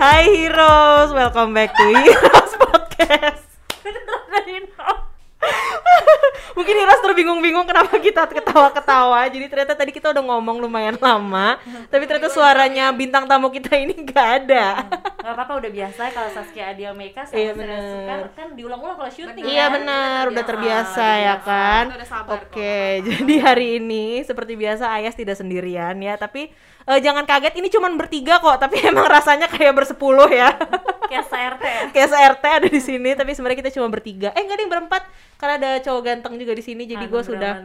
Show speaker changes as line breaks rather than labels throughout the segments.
Hai Heroes, welcome back to Heroes Podcast. Mungkin Heroes terbingung-bingung kenapa kita ketawa-ketawa. Jadi ternyata tadi kita udah ngomong lumayan lama, tapi ternyata suaranya bintang tamu kita ini nggak ada.
Gak apa-apa udah biasa kalau Saskia Adia Meka sama
Iya,
Sarah
bener.
Sekar kan diulang-ulang kalau syuting
Iya
kan?
benar, udah terbiasa
Ah,
ya
biasa.
kan.
Itu udah sabar kok,
Oke, jadi hari ini seperti biasa Ayas tidak sendirian ya, tapi eh, jangan kaget ini cuman bertiga kok, tapi emang rasanya kayak bersepuluh ya.
Kayak SRT ya.
kayak SRT ada di sini, tapi sebenarnya kita cuma bertiga. Eh enggak ada yang berempat karena ada cowok ganteng juga di sini, jadi gue
Anugerah
sudah Oh,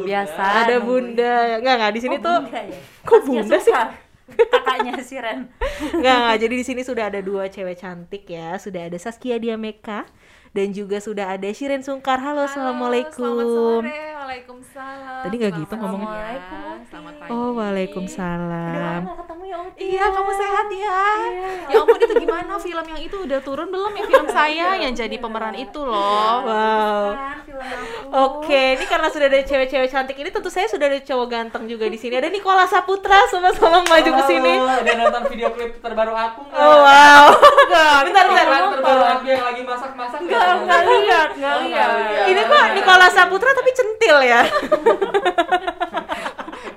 Mantio, biasa.
Ah,
ada
nungguin.
bunda, enggak enggak di sini
Oh,
tuh.
bunda ya?
Kok
Saskia
bunda sih?
Sungkar. Kakaknya si Ren.
Enggak, enggak. Jadi di sini sudah ada dua cewek cantik ya. Sudah ada Saskia Diameka dan juga sudah ada Shiren Sungkar. Halo, assalamualaikum.
Selamat sore, waalaikumsalam.
Tadi nggak
Selamat
gitu ngomongnya.
Waalaikumsalam,
Waalaikumsalam.
Selamat pagi.
Oh,
Udah lama
waalaikumsalam.
nggak ketemu ya Om.
Iya, kamu sehat ya. Ya ampun itu gimana film yang itu udah turun belum ya film saya yang jadi pemeran itu loh.
Wow.
Kan, film aku.
Oke, ini karena sudah ada cewek-cewek cantik ini, tentu saya sudah ada cowok ganteng juga di sini. Ada Nikola Saputra sama-sama maju ke sini.
Halo, udah nonton video klip terbaru aku nggak?
Oh wow. bentar, bentar.
Iklan terbaru aku yang lagi masak-masak Eh,
Enggak, enggak lihat, enggak lihat.
Ini kok Nikola Saputra tapi centil ya.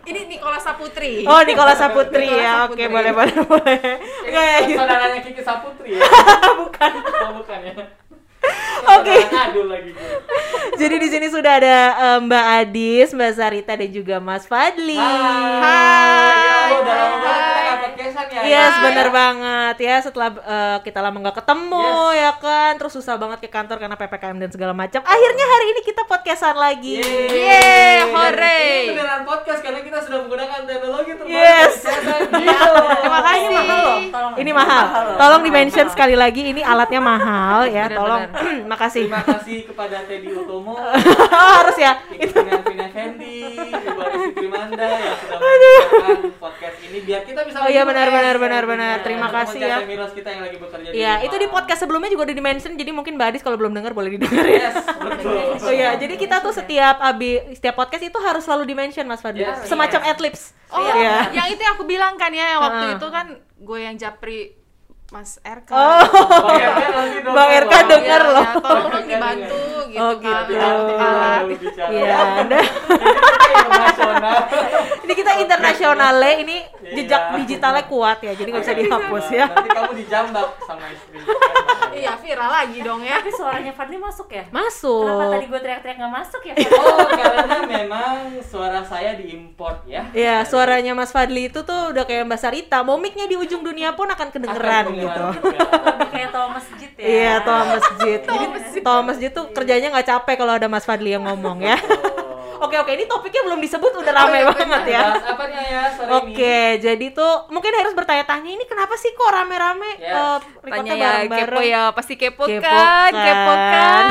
Ini Nikola Saputri.
Oh, Nikola Saputri
Nikola
ya.
Saputri.
Oke, boleh, boleh, boleh. Enggak ya. gitu.
Saudaranya Kiki Saputri ya? bukan. Oh, bukan ya.
Oke.
Aduh lagi gue.
Jadi di sini sudah ada eh, Mbak Adis, Mbak Sarita dan juga Mas Fadli.
Hai. Ya, udah lama banget kita nggak podcastan ya.
Iya,
Ya.
bener banget ya. Setelah eh, kita lama nggak ketemu
Yes.
ya kan, terus susah banget ke kantor karena ppkm dan segala macam. Akhirnya hari ini kita podcastan lagi.
Yeay.
Yeay, hore.
Ini beneran podcast karena kita sudah menggunakan teknologi terbaru.
Yes.
Terima
Makanya
kasih.
mahal loh.
Tolong.
Ini mahal.
loh.
Tolong di mention sekali lagi ini alatnya mahal ya.
Benar-benar.
Tolong. Makasih.
Terima kasih kepada Teddy Otomo,
Oh, harus ya.
Vina Vina Fendi, Ibu Aris Trimanda yang sudah menggunakan podcast ini biar kita bisa
Oh iya,
lebih
benar,
fresh,
benar,
ya,
benar,
tentunya.
benar. Terima
Teman-teman
kasih ya.
Jasa Miros kita yang lagi bekerja di
Iya,
rumah.
itu di podcast sebelumnya juga udah di mention jadi mungkin Mbak Adis kalau belum dengar Iya, boleh didengerin.
Yes, betul.
Oh iya, jadi kita tuh setiap abi setiap podcast itu harus selalu di-mention Mas Fadli.
Yes.
Semacam adlibs.
Oh,
Iya.
yang itu yang aku bilang kan ya yang waktu
Heeh.
itu kan gue yang japri Mas kan. RK.
Oh.
Bang RK nanti dong,
Bang RK
Bang.
denger
Ya,
loh.
ya, tolong dong dibantu gitu
Oh,
kan.
gitu.
Hati-hati kalau
Ah.
bicara.
Iya, Anda.
Internasional.
Ini kita internasionalnya ini jejak
Iya.
digitalnya kuat ya, jadi nggak bisa dihapus ya.
Nanti kamu dijambak sama istri.
Iya, viral lagi dong ya.
Tapi suaranya Fadli masuk ya?
Oh.
Kenapa tadi
Masuk.
gue teriak-teriak gak masuk ya? Fadli?
Oh, karena memang suara saya diimport ya.
Iya, suaranya Mas Fadli itu tuh udah kayak Mbak Sarita, mau mic-nya di ujung dunia pun akan kedengeran
Akan
gitu.
pengeluaran juga.
Lebih kayak tau masjid ya?
Iya, toa masjid. Jadi toa masjid tuh kerjanya nggak capek kalau ada Mas Fadli yang ngomong ya. Oke oke, ini topiknya belum disebut udah rame banget ya.
Bahas apa nih ya sore ini?
Oke, jadi tuh mungkin harus bertanya-tanya ini kenapa sih kok rame-rame
Yes.
eh, recordnya
Tanya ya, kepo ya, pasti kepo, kan, kepo kan.
Kepokan.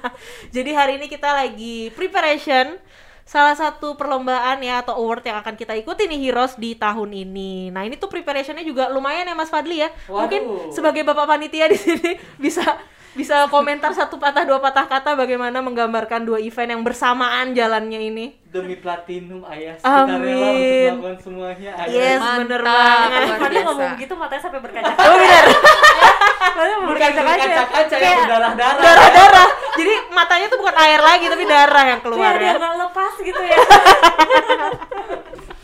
Jadi hari ini kita lagi preparation salah satu perlombaan ya atau award yang akan kita ikuti nih Heroes di tahun ini. Nah, ini tuh preparationnya juga lumayan ya Mas Fadli ya.
Waduh.
Mungkin sebagai Bapak panitia di sini bisa bisa komentar satu patah dua patah kata bagaimana menggambarkan dua event yang bersamaan jalannya ini.
Demi platinum ayah kita
Amin.
rela untuk melakukan semuanya ayah.
Yes,
Mantap.
bener banget.
Luar
Fadli
biasa.
ngomong gitu matanya sampai berkaca
Oh, bener.
Bukan kaca-kaca ya, berdarah-darah.
Darah-darah. Jadi matanya tuh bukan air lagi tapi darah yang
Kayak
keluar
ada
ya.
yang gak lepas gitu ya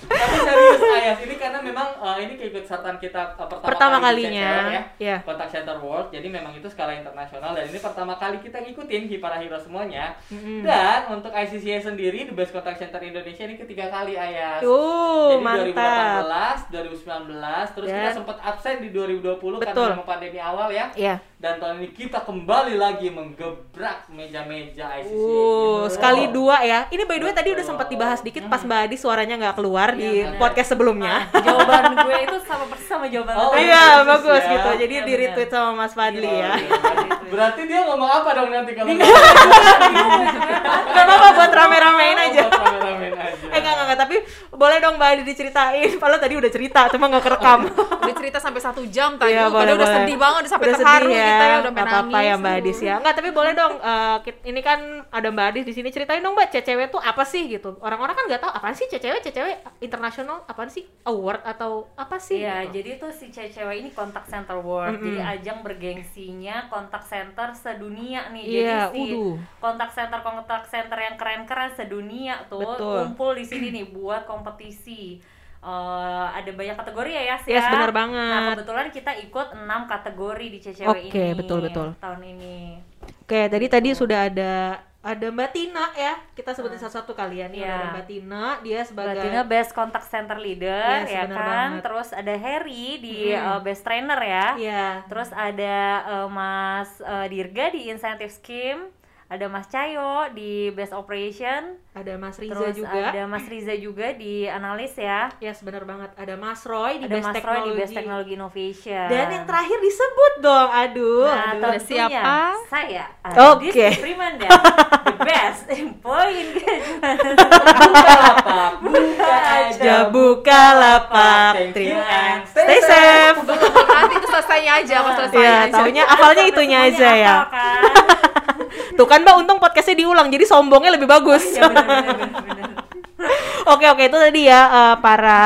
Tapi serius Ayas, ini karena memang eh, ini keikutsertaan kita eh, pertama,
Pertama
kali di
kalinya,
CCR
iya.
ya. Kontak Center World. Jadi memang itu skala internasional dan ini pertama kali kita ngikutin di para hero semuanya. Dan untuk ICCA sendiri the Best Contact Center Indonesia ini ketiga kali Ayas.
Tuh,
Jadi
mantap.
2018, 2019, terus
Dan-
kita sempat absen di
Betul.
2020 karena memang pandemi awal ya.
Iya.
Dan tahun ini kita kembali lagi menggebrak meja-meja ICC.
Uh, sekali dua ya. Ini by the way tadi udah
Betul.
sempat dibahas dikit pas Mbak Adi suaranya nggak keluar di
bener.
podcast sebelumnya.
Jawaban gue itu sama persis sama jawaban lo
Oh,
tadi.
Ah. Iya,
bagus
bagus
ya.
gitu. Jadi
Iya,
di
bener.
retweet sama Mas Fadli ya.
Oh, iya, Berarti dia ngomong apa dong nanti kalau
Gak apa-apa buat rame-ramein aja.
Buat rame-ramein aja.
Eh enggak enggak Oke, tapi boleh dong Mbak Adi diceritain. Padahal tadi udah cerita, cuma nggak kerekam.
udah cerita sampai satu jam tadi
Iya,
Padahal
boleh,
udah
boleh.
sedih banget udah sampai
Udah
terharu
sedih
kita ya udah
nggak
pengen
apa-apa
nangis
ya Mbak Adis ya. Enggak, tapi boleh dong eh, kit- ini kan ada Mbak Adis di sini ceritain dong Mbak CCW tuh apa sih gitu. Orang-orang kan nggak tahu apaan sih CCW, CCW internasional apaan sih award atau apa sih? gitu.
Iya, jadi tuh si cewek-cewek ini kontak center world.
Mm-mm.
Jadi ajang bergengsinya kontak center sedunia nih.
Iya,
jadi si
uduh.
kontak center kontak center yang keren-keren sedunia tuh
Betul.
kumpul di sini nih buat kompetisi. Eh, ada banyak kategori ya ya
Yes, benar
Nah,
banget.
kebetulan kita ikut 6 kategori di CCW ini.
Oke, betul, betul.
Tahun ini.
Oke, tadi tadi sudah ada ada Mbak Tina ya. Kita sebutin satu-satu kalian ya.
Iya.
Ada Mbak Tina, dia sebagai
Berarti best contact center
Yes,
leader ya
benar
kan.
banget.
Terus ada Harry di
Mm-mm.
eh, best trainer ya.
Iya.
Terus ada eh, Mas eh, Dirga di incentive scheme, ada Mas Cayo di best operation,
Ada Mas Riza
terus
juga.
ada Mas Riza juga di analis ya.
Yes, benar banget. Ada Mas Roy di
ada
Best
Mas Roy
Technology.
di best technology innovation.
Dan yang terakhir disebut dong. Aduh.
Nah,
aduh.
tentunya
siapa?
Saya
Oke.
Adis Primanda, the best employee engagement.
Bukalapak, buka aja
aja
bu.
buka lapak.
Thank you
Terima-
and
Stay safe.
nanti itu selesainya aja mas selesainya
Iya,
aja
taunya apalnya itunya aja ya.
Apal, kan?
Tuh kan Mbak untung podcastnya diulang jadi sombongnya lebih bagus.
ya benar-benar benar-benar.
Oke oke itu tadi ya eh, para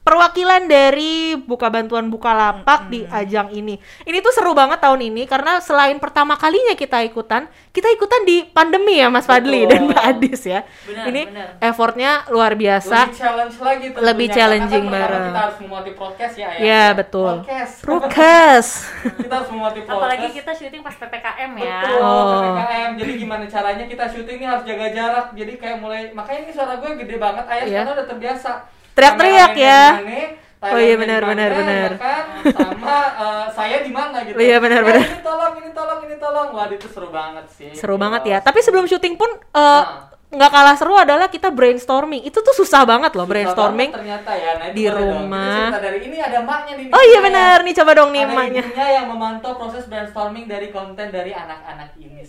perwakilan dari buka bantuan Bukalapak di ajang ini. Ini tuh seru banget tahun ini karena selain pertama kalinya kita ikutan, kita ikutan di pandemi ya Mas Fadli
Betul.
dan Mbak Adis ya.
Benar,
ini
benar.
effortnya luar biasa.
Lebih challenge lagi tentunya.
Lebih challenging
Karena kan pertama
bareng.
Kita harus memuati podcast ya. Ayah.
Ya betul.
Podcast.
Rukes.
kita harus memuati podcast.
Apalagi kita syuting pas PPKM ya.
Betul,
Oh.
PPKM. Jadi gimana caranya kita syuting ini harus jaga jarak. Jadi kayak mulai makanya ini suara gue gede banget ayah
Iya.
karena udah terbiasa.
Teriak-teriak
Kameramen
ya.
di
Oh
mana,
iya,
Thailand di
benar, benar,
mana,
benar.
ya kan? Sama eh, saya di mana gitu.
Iya, benar,
Eh,
benar.
Ini tolong, ini tolong, ini tolong. Wah, itu seru banget sih. Gitu.
Seru banget ya.
Gila.
Tapi sebelum syuting pun eh,
Iya. Nah.
nggak kalah seru adalah kita brainstorming. Itu tuh susah banget loh
Susah
brainstorming.
banget ternyata ya. Nah, itu
di
boleh dong. Kita
rumah.
cerita dari ini ada maknya nih.
Oh iya benar nih coba dong nih
Ada
emaknya.
ibunya yang memantau proses brainstorming dari konten dari anak-anak ini.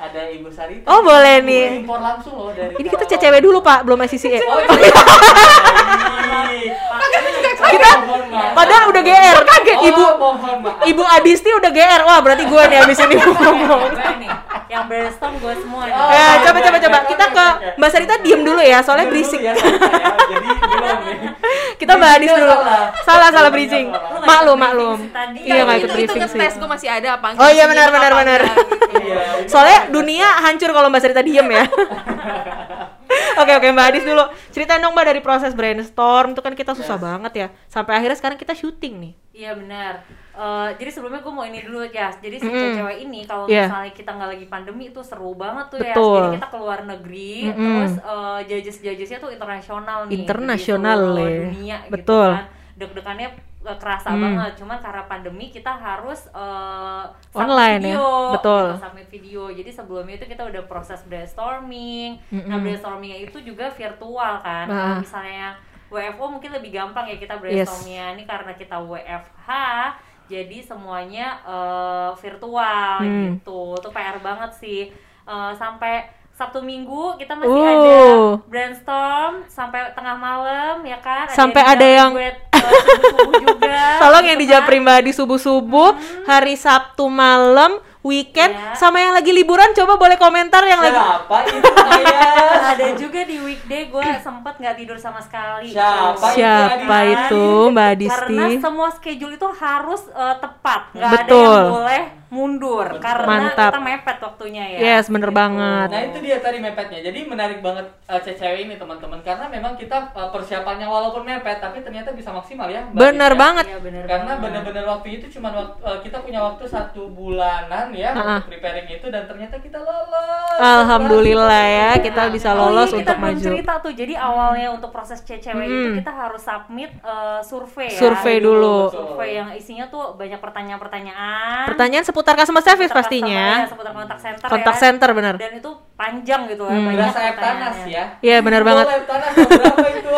ada Ibu Sarita.
Oh, boleh
Ibu
nih.
Impor langsung loh dari.
Ini kita
Karawang.
CCW dulu Pak, belum SCCE.
Oh, iya.
Kan
Kita
Mohon maaf.
padahal udah GR. Kaget
Oh,
Ibu
mohon maaf.
Ibu Adisti udah GR. Wah, berarti gue nih abis ini ngomong.
gue nih yang brainstorm gue semua nih.
Oh.
Ya, coba coba coba. Kita ke Mbak Sarita diem dulu ya, soalnya
Dulu
berisik.
ya, saya. Jadi belum nih.
Kita Mbak Adis
Bridgingnya
dulu.
salah.
Salah salah
Bridgingnya
bridging.
salah.
nggak
Maklum
ikut
maklum.
briefing sih tadi.
Iya nggak
itu,
ikut
itu
briefing sih.
ngetes gue masih ada apa
Oh iya, benar, benar, benar.
Iya, ini
Soalnya
ada-
dunia hancur kalau Mbak Sarita diem ya. Oke oke Mbak Adis dulu. Ceritain dong Mbak dari proses brainstorm itu kan kita susah
Yes.
banget ya. Sampai akhirnya sekarang kita syuting nih.
Iya benar. Eh, jadi sebelumnya gue mau ini dulu ya. Jadi si
Mm-mm.
cewek ini kalau
Iya.
misalnya kita nggak lagi pandemi itu seru banget tuh
Betul.
ya. Jadi kita keluar negeri,
Mm-mm.
terus eh, judges-judgesnya tuh internasional nih.
Internasional,
Jadi seluruh
Le.
dunia
Betul.
gitu kan. Deg-degannya eh, kerasa
Mm.
banget. Cuman karena pandemi kita harus eh, submit
Online ya,
video,
betul.
Kita submit video. Jadi sebelumnya itu kita udah proses brainstorming. Nah
Mm-mm.
brainstormingnya itu juga virtual kan. Kalau
Ah.
misalnya WFO mungkin lebih gampang ya kita brainstormingnya ya ini karena kita WFH jadi semuanya eh, virtual
Hmm.
gitu itu PR banget sih Eh, sampai Sabtu Minggu kita masih
Oh.
ada brainstorm sampai tengah malam ya kan
Sampai ada yang-
subuh eh, juga
Tolong yang di
gitu kan. Hmm.
Japri Mbak di subuh-subuh, hari Sabtu malam, weekend,
Ya.
sama yang lagi liburan coba boleh komentar yang lagi
Siapa itu saya?
ada juga di weekday gue sempet nggak tidur sama sekali
Siapa
Gitu.
siapa
Mbak
itu Mbak Adisti?
Karena semua schedule itu harus eh, tepat, nggak ada
Betul.
yang boleh mundur karena
Mantap.
kita mepet waktunya ya.
Yes, bener banget.
Nah itu dia tadi mepetnya. Jadi menarik banget uh, CCW ini teman-teman karena memang kita uh, persiapannya walaupun mepet tapi ternyata bisa maksimal ya. Mbak
Bener
Dita.
banget.
Iya, bener
Karena
banget.
bener-bener waktu itu cuma waktu, uh, kita punya waktu satu bulanan ya
Ha-ha.
untuk preparing itu dan ternyata kita lolos.
Alhamdulillah ya kita bisa
Oh
lolos
iya, kita
untuk
belum
maju.
cerita tuh. Jadi awalnya untuk proses CCW itu
Hmm.
kita harus submit eh, survei ya.
Survei dulu.
Survei yang isinya tuh banyak pertanyaan-pertanyaan.
Pertanyaan seputar customer service
Seputar customer,
pastinya.
ya, seputar kontak center
Kontak
ya.
center bener.
Dan itu panjang gitu ya,
Hmm.
banyak
Berasa ya. sayap
pertanyaannya.
tanas ya.
Iya bener
Bola
banget.
sayap tanas tahun berapa itu?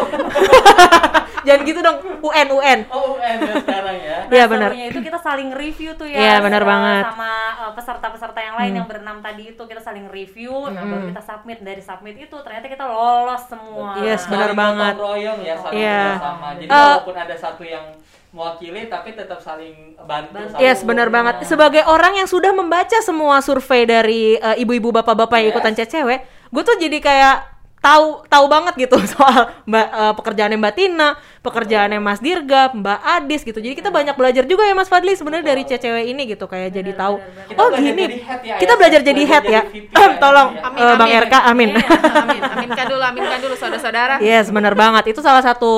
Jangan gitu dong. UN UN.
Oh, UN ya sekarang ya.
Iya benar.
Serunya itu kita saling review tuh ya.
Iya, benar
sama-
banget. Hmm.
Sama uh, peserta-peserta yang lain yang berenam tadi itu kita saling review, nah baru kita submit dari submit itu ternyata kita lolos semua.
Yes, benar.
Saling
banget.
gotong royong ya saling
Iya.
bersama. Jadi
Eh,
walaupun ada satu yang mewakili tapi tetap saling bantu.
Bantu.
saling-
Yes, benar
Iya.
banget. Sebagai orang yang sudah membaca semua survei dari eh, ibu-ibu bapak-bapak yang
Yes.
ikutan cewek, gue tuh jadi kayak tahu tahu banget gitu soal mbak eh, pekerjaannya Mbak Tina, pekerjaannya Mas Dirga, Mbak Adis gitu. Jadi
Iya.
kita banyak belajar juga ya Mas Fadli sebenarnya dari cewek ini gitu kayak jadi tahu.
Kita
Oh
belajar
gini.
jadi head ya,
kita
ya.
belajar jadi head ya.
jadi VP ya.
Tolong
Iya.
Amin,
eh, Bang
amin.
RK amin.
amin, aminkan dulu, aminkan dulu saudara-saudara.
Yes, bener banget. Itu salah satu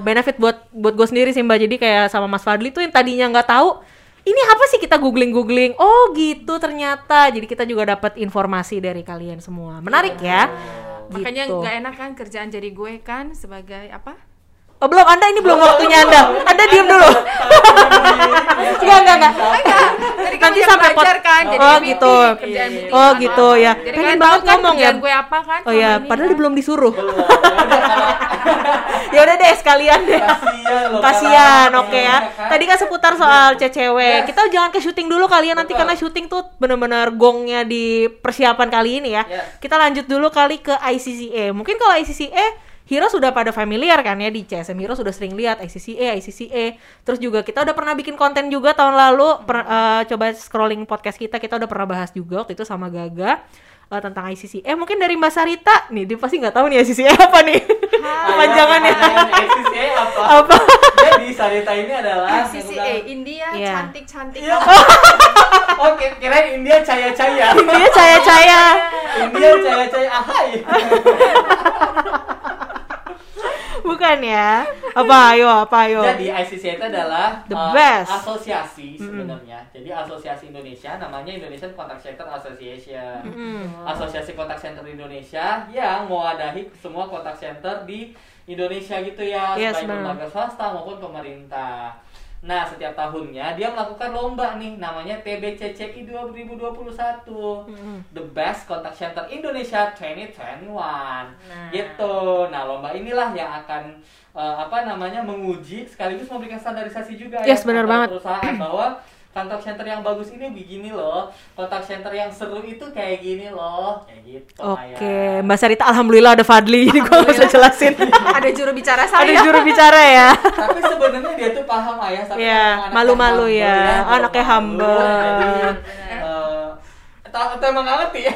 benefit buat buat gue sendiri sih Mbak. Jadi kayak sama Mas Fadli tuh yang tadinya nggak tahu, ini apa sih kita googling-googling? Oh gitu ternyata. Jadi kita juga dapat informasi dari kalian semua. Menarik ya. Gitu.
Makanya nggak enak kan kerjaan jadi gue kan sebagai apa?
Oh belum, Anda ini belum waktunya Anda. Anda diam dulu. Enggak, enggak, enggak.
Jadi
Nanti
banyak
sampai pot-
belajar kan, jadi
Oh,
VP,
gitu.
kerjaan
Iya.
VP,
Oh,
kan.
gitu, ya.
Jadi
Pengen
kalian
banget
tahu kan
ngomong,
kerjaan
ya.
gue apa kan?
Oh ya,
selama ini,
padahal
kan?
belum disuruh.
Belum. Ya udah, kalau-
ya udah deh sekalian deh.
Kasian loh.
Kasian,
kalau-
oke ya. Tadi kan seputar soal cecew. Kita jangan ke syuting dulu kali ya nanti
Betul.
karena syuting tuh bener-bener gongnya di persiapan kali ini ya.
Yes.
Kita lanjut dulu kali ke ICCA. E. Mungkin kalau ICCA Hero sudah pada familiar kan ya di CSM Hero sudah sering lihat ICCA, ICCA. E. Terus juga kita udah pernah bikin konten juga tahun lalu. Per- eh, coba scrolling podcast kita, kita udah pernah bahas juga waktu itu sama Gaga eh, tentang ICCA. Mungkin dari Mbak Sarita nih, dia pasti nggak tahu nih ICCA E apa nih. Kepanjangannya.
Ayam, ayam, SCA eh, apa?
ya. Apa? eh.
Jadi Sarita ini adalah
CCA India
Iya.
cantik-cantik.
Iya. Oh, kira kirain India caya-caya.
Dia caya-caya.
India caya-caya ahai.
Bukan ya? Apa ayo, apa ayo?
Jadi ICCA itu adalah
The
uh,
best.
asosiasi sebenarnya. Jadi asosiasi Indonesia namanya Indonesian Contact Center Association. Asosiasi Contact Center Indonesia yang mewadahi semua contact center di Indonesia gitu ya,
Yes,
baik
benar.
lembaga swasta maupun pemerintah. Nah, setiap tahunnya dia melakukan lomba nih namanya TBCCI 2021. The Best Contact Center Indonesia 2021. Gitu. Nah, lomba inilah yang akan eh, apa namanya menguji sekaligus memberikan standarisasi juga
Yes,
ya
benar
kepada
banget.
perusahaan bahwa kontak center yang bagus ini begini loh kontak center yang seru itu kayak gini loh kayak gitu
Oke, Mbak Sarita alhamdulillah ada Fadli. Jadi gua nggak usah jelasin.
Ada juru
ada
bicara saya.
juru bicara ya.
Maya. tapi sebenarnya dia tuh paham ayah tapi
Iya,
memang anaknya
malu-malu
humble
ya. Anaknya
malu-malu. Iya,
humble.
jadi eh, ta- ta- emang ngerti ya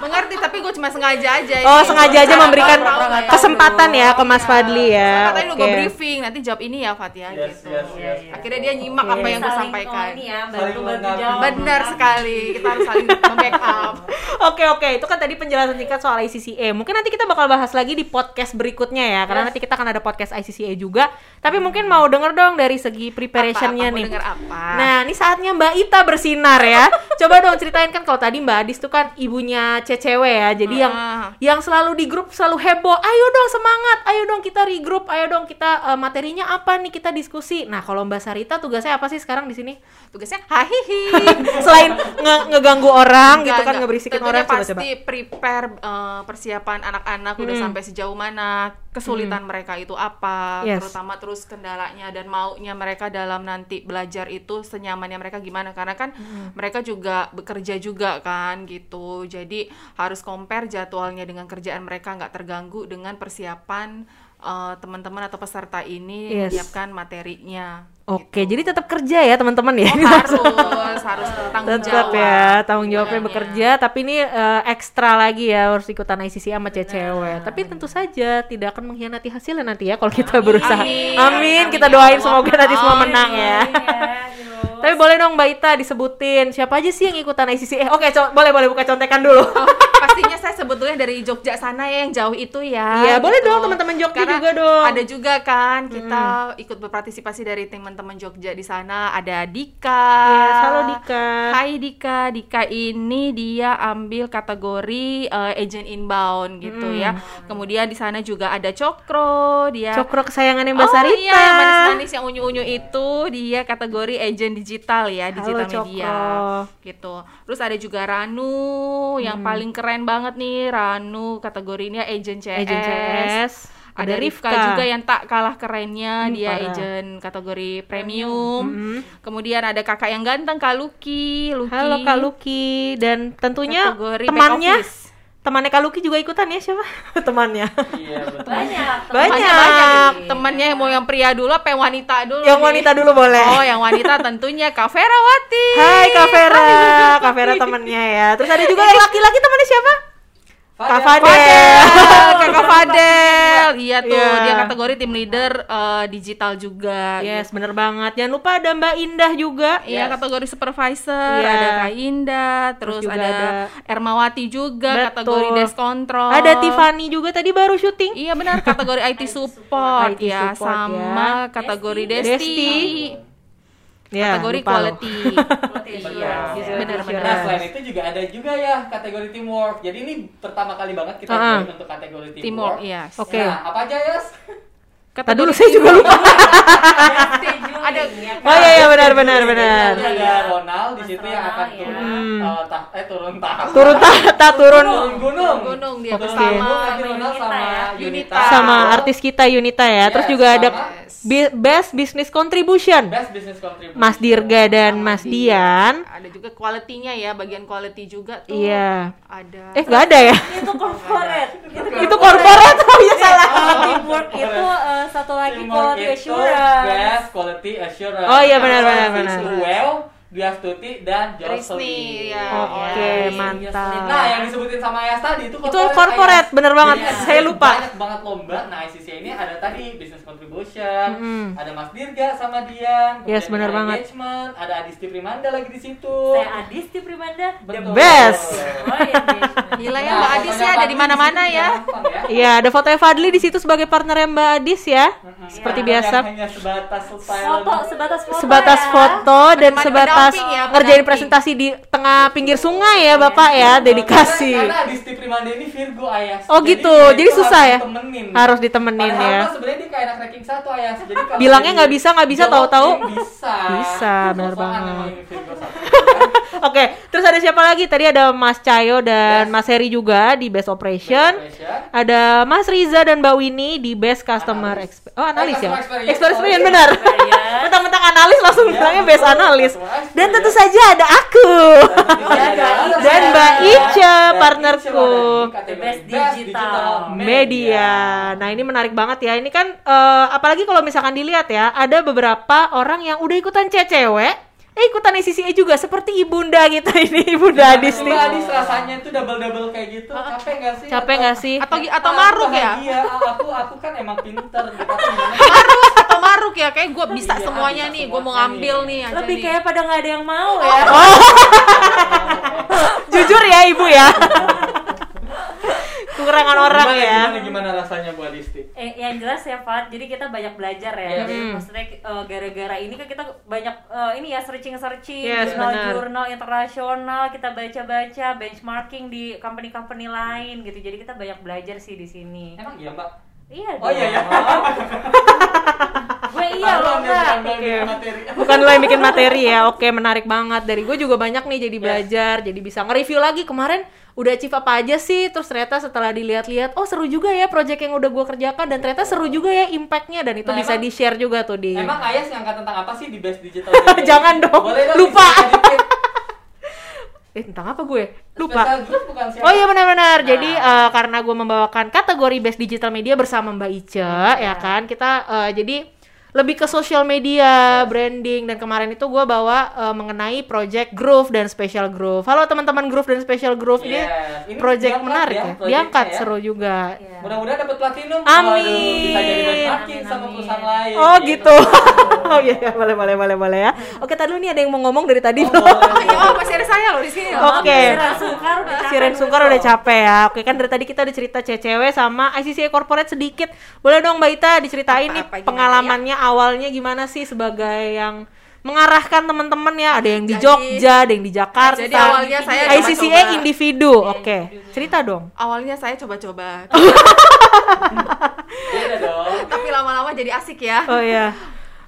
Mengerti tapi gue cuma sengaja aja.
Oh,
ini.
sengaja aja
Cara
memberikan
gua Iya, tahu nggak tahu
kesempatan
dulu.
ya ke Mas
Iya.
Fadli ya.
Katanya lu gue
Oke.
briefing, nanti jawab ini ya Fatia
yes,
gitu.
yes, yes.
Akhirnya dia nyimak
Oke.
apa yang gue
Saling
sampaikan.
ini ya,
Saling
bantu-bantu
melengkapi.
jawab.
Benar sekali, kita harus saling membackup.
Oke oke, itu kan tadi penjelasan singkat soal ICCA. E. Mungkin nanti kita bakal bahas lagi di podcast berikutnya ya, karena nanti kita akan ada podcast ICCA E juga. Tapi mungkin mau denger dong dari segi preparationnya
Apa, apa,
nih.
mau denger apa?
Nah, ini saatnya Mbak Ita bersinar ya. Coba dong ceritain kan kalau tadi Mbak Adis tuh kan ibunya CCW ya. Jadi yang
Ah.
yang selalu di grup selalu heboh. Ayo dong semangat, ayo dong kita regroup, ayo dong kita eh, materinya apa nih kita diskusi. Nah, kalau Mbak Sarita tugasnya apa sih sekarang di sini?
Tugasnya hahihi.
Selain nge- ngeganggu orang gitu
Enggak,
kan,
enggak.
ngeberisikin
Tentunya
orang
pasti
coba-coba.
prepare eh, persiapan anak-anak udah
Hmm.
sampai sejauh mana, kesulitan mereka itu apa,
Yes.
terutama terus kendalanya dan maunya mereka dalam nanti belajar itu senyamannya mereka gimana karena kan
Hmm.
mereka juga bekerja juga kan gitu. Jadi harus compare jadwalnya dengan kerjaan mereka nggak terganggu dengan persiapan eh, teman-teman atau peserta ini
Yes.
menyiapkan materinya.
Oke, jadi tetap kerja ya teman-teman ya.
Oh, harus harus tanggung
tetap
jawab
ya tanggung jawabnya
Iya.
bekerja tapi ini eh, ekstra lagi ya harus ikutan ICC sama cewek tapi tentu saja tidak akan mengkhianati hasilnya nanti ya kalau kita berusaha amin,
Amin.
kita
Amin, Iya,
doain
ya Allah.
semoga nanti semua
Amin,
menang ya
Iya,
tapi boleh dong Mbak Ita disebutin siapa aja sih yang ikutan ICC eh oke co- boleh boleh buka contekan dulu
Oh, pastinya saya sebetulnya dari Jogja sana ya yang jauh itu ya.
Iya, boleh dong teman-teman Jogja
Karena
juga dong. Hmm.
Ada juga kan kita ikut berpartisipasi dari teman-teman Jogja di sana. Ada Dika.
Yes, Iya, halo Dika.
Hai Dika. Dika ini dia ambil kategori eh, agent inbound gitu ya. Kemudian di sana juga ada Cokro, dia
Hmm. cokro kesayangannya Mbak
oh,
Sarita
iya, yang manis-manis yang unyu-unyu itu dia kategori agent digital ya, digital
Cokro.
media gitu. Terus ada juga
Hmm.
Ranu yang paling keren banget nih, Ranu kategorinya agent CS.
Agent CS
Ada Rifka juga yang tak kalah kerennya,
Hmm,
dia
parah. Hmm,
agent kategori premium. Kemudian ada kakak yang ganteng Kak Luki, Luki.
Halo Kak Luki dan tentunya
kategori back
temannya
office.
temannya Kak Luki juga ikutan ya siapa temannya
Iya
Banyak.
betul.
Banyak.
Temannya
teman-
banyak. Temannya yang mau yang pria dulu apa yang wanita dulu?
yang
nih?
wanita dulu boleh
Oh, yang wanita tentunya Kak Ferawati.
Hai Kak Vera Kak Vera temannya ya terus ada juga yang laki-laki temannya siapa Kak
Fadel.
Fadel
Eh. Fadel, Kakak Fadel. Iya tuh,
Iya.
dia kategori tim leader eh, digital juga. gitu.
yes bener banget jangan lupa ada Mbak Indah juga
Iya
Yes.
kategori supervisor,
Iya.
ada Kak Indah, terus,
juga
ada, Ermawati
Betul.
juga kategori desk control.
ada Tiffany juga tadi baru syuting
Iya benar kategori IT support
IT
ya
support,
sama kategori Desti.
Desti. Ya, lupa
Kategori
loh.
quality.
Iya.
Iya.
Benar-benar.
Nah selain itu juga ada juga ya kategori teamwork. Jadi ini pertama kali banget kita
Ah.
join untuk kategori teamwork.
Teamwork, yes.
Oke.
Nah, apa aja Yas?
Tadi dulu saya juga lupa.
Ada.
Oh iya iya benar benar benar.
iya,
Jadi ada Ronald di situ yang akan
Ronald, ya.
turun
Hmm.
eh, tah- eh turun
iya.
tahta.
Turun tahta turun
Turun gunung.
Gunung dia
Turun
bersama
gunung, nanti Ronald
Yunita
sama
ya.
Yunita.
sama artis kita Yunita ya. Terus
Yes,
juga ada
sama-
bi- best business contribution
Best business contribution.
Mas Dirga dan Mas
Iya.
Dian.
Ada juga quality-nya ya, bagian quality juga tuh.
Iya.
Ada.
Eh nggak ada ya?
Itu corporate.
Itu corporate oh ya
Iya,
salah.
Kalau teamwork itu eh, satu lagi
Teamwork
quality
itu
assurance.
Best quality assurance.
Oh, iya, benar, benar,
Sama
benar.
Sisi Well, Diastuti dan Jocelyn.
Risni, ya.
Oh,
iya,
Oke,
Yes.
mantap.
Nah, yang disebutin sama Yas tadi itu
Itu corporate,
Ayas.
bener banget.
Jadi ada
Saya lupa.
Banyak banget lomba. Nah, ICC ini ada tadi business contribution,
Mm-mm.
ada Mas Dirga sama Dian,
Yes,
kemudian
bener
ada
banget.
Engagement, ada Adisti Primanda lagi di situ.
Saya Adis di Primanda.
Betul.
best.
Oh, iya, iya.
Gila ya
Nah,
Mbak Adis ya,
fotonya
ada
Fadli
di mana-mana
situ
ya.
gampang ya.
Iya, ada fotonya Fadli di situ sebagai partner Mbak Adis ya.
Mm-mm. Iya,
Seperti
Yang
biasa.
Hanya sebatas
Foto sebatas foto.
Sebatas
ya.
foto dan
Teman-teman
sebatas
pendamping ya,
ngerjain
pendamping.
presentasi di tengah pinggir sungai ya, Bapak ya,
Iya.
dedikasi.
Karena, karena Adisti Primanda ini Virgo Ayas.
Oh, gitu.
dia
Jadi
itu
susah
harus
ya?
ditemenin.
Harus ditemenin
Padahal
ya.
mah sebenarnya dia kayak anak ranking satu Ayas. Jadi kalau
Bilangnya
dia
nggak bisa, nggak bisa,
dijodohin,
tahu-tahu
Bisa.
bisa, bener
Sosokan
banget.
emang ini Virgo satu.
Oke, terus ada siapa lagi? Tadi ada Mas Cayo dan
Yes.
Mas Heri juga di Best Operation.
Operation.
Ada Mas Riza dan Mbak Winnie di Best Customer
Analis.
Exp- Oh, analis
Eh,
ya?
customer experience. Iya,
Experience
Sorry.
yang benar.
Experience.
Mentang-mentang analis langsung
Iya,
bilangnya
betul. iya.
Best Analis.
Customer experience.
Dan tentu saja ada aku.
Dan Mbak Ica.
Dan Mbak Ica,
Dan
partnerku.
Ica ada di kategori
Best Digital
Media. Nah, ini menarik banget ya. Ini kan eh, apalagi kalau misalkan dilihat ya, ada beberapa orang yang udah ikutan CCW, eh ikutan SCCA juga seperti Ibunda kita ini, Ibunda Adis
Adis
nih.
Iya, Adis rasanya tuh double-double kayak gitu. Capek nggak sih?
Capek nggak sih?
Atau atau
Ah,
maruk ya?
bahagia. Ah, aku aku kan emang pinter gitu.
Atau maruk ya, kayak gue bisa
Iya,
semuanya
bisa
nih, gue mau
semuanya
ngambil
nih.
nih aja
Lebih
nih.
Iya.
Oh.
kayak pada nggak ada yang mau ya.
Jujur ya, Ibu ya. Kekurangan orang
Gimana-
ya.
Gimana, gimana rasanya buat Adisti?
Eh, yang jelas ya Fat, jadi kita banyak belajar ya.
Iya.
Jadi
Hmm.
maksudnya eh, gara-gara ini kan kita banyak eh, ini ya searching-searching
Yes, benar.
jurnal-jurnal internasional, kita baca-baca benchmarking di company-company lain gitu. Jadi kita banyak belajar sih di sini.
Emang iya mbak?
Iya
Oh iya ya.
Gue iya
Taruhan
loh,
deh,
Kak.
taruhan deh, materi.
Bukan lo yang bikin materi ya. Oke, menarik banget. Dari gue juga banyak nih jadi belajar, jadi bisa nge-review lagi kemarin udah achieve apa aja sih. Terus ternyata setelah dilihat-lihat, oh seru juga ya project yang udah gue kerjakan dan ternyata seru juga ya impactnya dan itu
Nah,
bisa
emang- Nah.
di-share juga tuh di
Emang Ayas ngangkat tentang apa sih di Best Digital?
Iya. Jangan dong,
Boleh dong
lupa.
diceritain dikit.
eh tentang apa gue?
Special
Lupa.
group bukan siapa?
Oh iya benar-benar.
Nah.
Jadi eh, karena gue membawakan kategori best digital media bersama Mbak Ice ya kan. Kita eh, jadi lebih ke social media, branding dan kemarin itu gue bawa eh, mengenai project Groove dan Special Groove. Halo teman-teman Groove dan Special Groove ini,
Yes, iya. ini
project
diangkat
menarik
ya,
ya.
projectnya
Diangkat
ya.
seru juga.
Iya.
Mudah-mudahan dapat platinum.
Amin.
Waduh, bisa jadi benchmarking
Amin,
sama
amin.
perusahaan lain. Iya
Oh gitu. oh iya iya, boleh boleh boleh boleh ya. Oke, tadi dulu nih ada yang mau ngomong dari tadi.
Oh, iya. boleh,
Oh, iya,
boleh.
oh, masih ada saya loh di sini. loh.
Oke.
Siren Sungkar udah capek.
Si Ren Sungkar udah capek ya. Oke kan dari tadi kita udah cerita CCW sama ICCA Corporate sedikit. Boleh dong Mbak Ita diceritain nih
Apa-apa, gimana ya?
pengalamannya awalnya gimana sih sebagai yang mengarahkan teman-teman ya. Ada yang di
Jadi-
Jogja, ada yang di Jakarta. Eh,
jadi awalnya saya
ICCA
coba-coba. Iya.
individu. Oke. Cerita dong.
Awalnya saya coba-coba,
Beda dong. Iya
tapi lama-lama jadi asik ya.
Oh iya.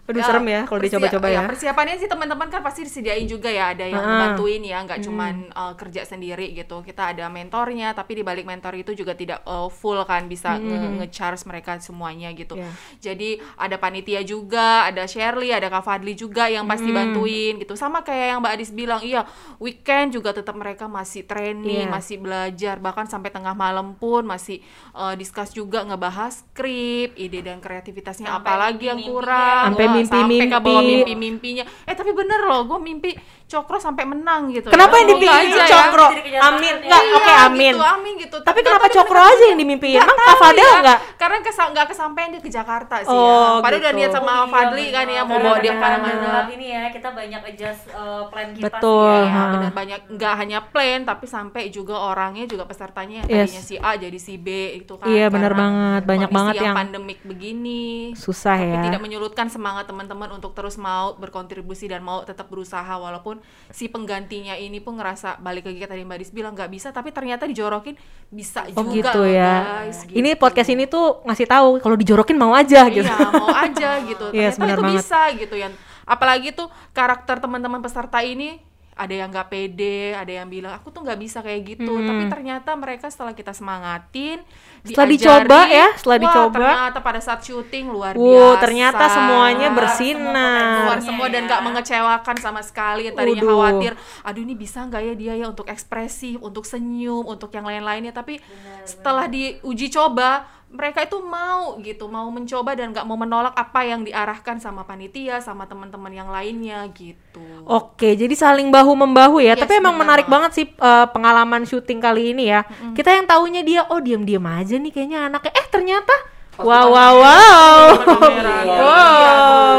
Aduh serem ya kalau
persia-
dicoba-coba ya.
Persiapannya sih teman-teman kan pasti disediain juga ya ada yang
Ah.
bantuin ya, nggak cuman uh, kerja sendiri gitu. Kita ada mentornya, tapi di balik mentor itu juga tidak uh, full kan bisa
Hmm,
nge- nge-charge mereka semuanya gitu.
Iya.
Jadi ada panitia juga, ada Shirley, ada Kak Fadli juga yang pasti
Hmm.
bantuin gitu. Sama kayak yang Mbak Adis bilang, iya weekend juga tetap mereka masih training,
Iya.
masih belajar, bahkan sampai tengah malam pun masih uh, discuss juga ngebahas skrip, ide dan kreativitasnya
Sampai
apalagi yang
mimpi-mimpinya.
kurang.
Sampai
Wah, Sampai
mimpi-mimpi.
ke bawah mimpi-mimpinya. Eh tapi bener loh, gue mimpi Cokro sampai menang gitu.
Kenapa yang
Semoga
dipingin
aja ya.
cokro?
Jadi kejahatan
Amin.
ya.
Enggak,
Iya,
oke amin.
Gitu, amin gitu.
Tapi
Nggak
kenapa
tahu
cokro
kenapa
aja yang dimimpiin?
Nggak
Emang
tahu
Kak Fadel
ya.
enggak?
Karena kesa nggak kesampaian dia ke Jakarta sih
Oh,
ya. Padahal udah
gitu. iya.
niat
Oh,
sama
iya,
Fadli
benar.
kan ya mau
Karena
bawa dia
benar,
kemana-mana.
benar. Ini ya kita banyak adjust uh, plan kita sih
Betul.
ya.
Ya,
Ah.
benar banyak nggak hanya plan tapi sampai juga orangnya juga pesertanya yang
Yes.
tadinya si A jadi si B itu kan.
Iya, benar
bener
banget. Banyak banget yang-
pandemik begini.
Susah
Tapi
ya.
tidak menyurutkan semangat teman-teman untuk terus mau berkontribusi dan mau tetap berusaha walaupun si penggantinya ini pun ngerasa balik lagi ke tadi Mbak Dis bilang nggak bisa tapi ternyata dijorokin bisa
Oh
juga
gitu
loh,
ya.
guys,
Ini
gitu.
podcast ini tuh ngasih tahu kalau dijorokin mau aja gitu.
Iya, mau aja gitu.
Yes,
Ternyata
benar
itu
banget.
bisa gitu ya. Apalagi tuh karakter teman-teman peserta ini ada yang nggak pede, ada yang bilang aku tuh nggak bisa kayak gitu.
Hmm.
Tapi ternyata mereka setelah kita semangatin,
Setelah
diajari,
dicoba ya, setelah
wah,
dicoba.
ternyata pada saat syuting luar
Wow,
biasa.
ternyata semuanya
Semua
bersinar.
keluar semua dan nggak mengecewakan sama sekali. Yang Tadinya
Iya, Waduh.
khawatir, aduh ini bisa nggak ya dia ya untuk ekspresif, untuk senyum, untuk yang lain-lainnya. Tapi setelah diuji coba, mereka itu mau gitu, mau mencoba dan nggak mau menolak apa yang diarahkan sama panitia, sama teman-teman yang lainnya gitu.
Oke, jadi saling bahu membahu ya.
Yes,
Tapi emang
benar
menarik banget sih eh, pengalaman syuting kali ini ya. Kita yang taunya dia oh diam-diam aja nih kayaknya anaknya. Eh ternyata wow wow wow.
kamera.
Wow,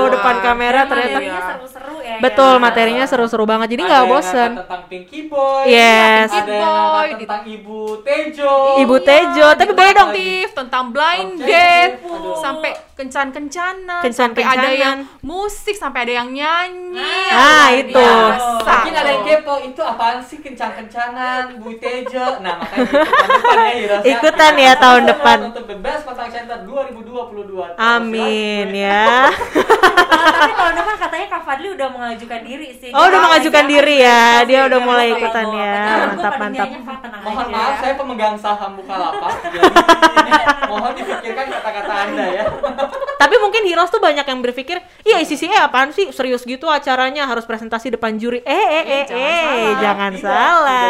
Iya.
depan kamera
Dan
ternyata.
materinya seru-seru ya.
Betul,
ya.
materinya seru-seru banget. Jadi nggak
Ada yang
bosen.
ngangkat tentang Pinky Boy.
Yes. gitu.
Ada yang
Boy,
ngangkat tentang Ibu Tejo.
Ibu Tejo, tapi boleh dong
Objektif, Iya, tentang blind
Objektif,
date,
aduh.
sampai kencan-kencanan, sampai
Kencan-kencanan.
ada yang musik, sampai ada yang nyanyi.
Ah,
Luar
itu.
biasa.
Mungkin Iya, ada yang kepo, itu apaan sih kencang-kencanan, Bu Tejo? Nah, makanya ikutan depan ya, Hirosaki.
Ikutan ya, tahun
Sama-sama
depan.
Untuk The Best Contact Center 2022.
Amin ya.
Tapi tahun depan katanya Kak Fadli udah mengajukan diri sih.
Oh, udah
Iya.
mengajukan diri ya. Dia udah mulai ikutan ya. Mantap,
Mantap,
mantap.
mantap.
Mohon maaf, saya pemegang saham Bukalapak. Jadi, mohon dipikirkan kata-kata Anda ya.
Tapi mungkin Heroes tuh banyak yang berpikir, iya ICCA apaan sih serius gitu acaranya harus presentasi depan juri. Eh eh
Iya,
eh eh, jangan
Tidak,
salah.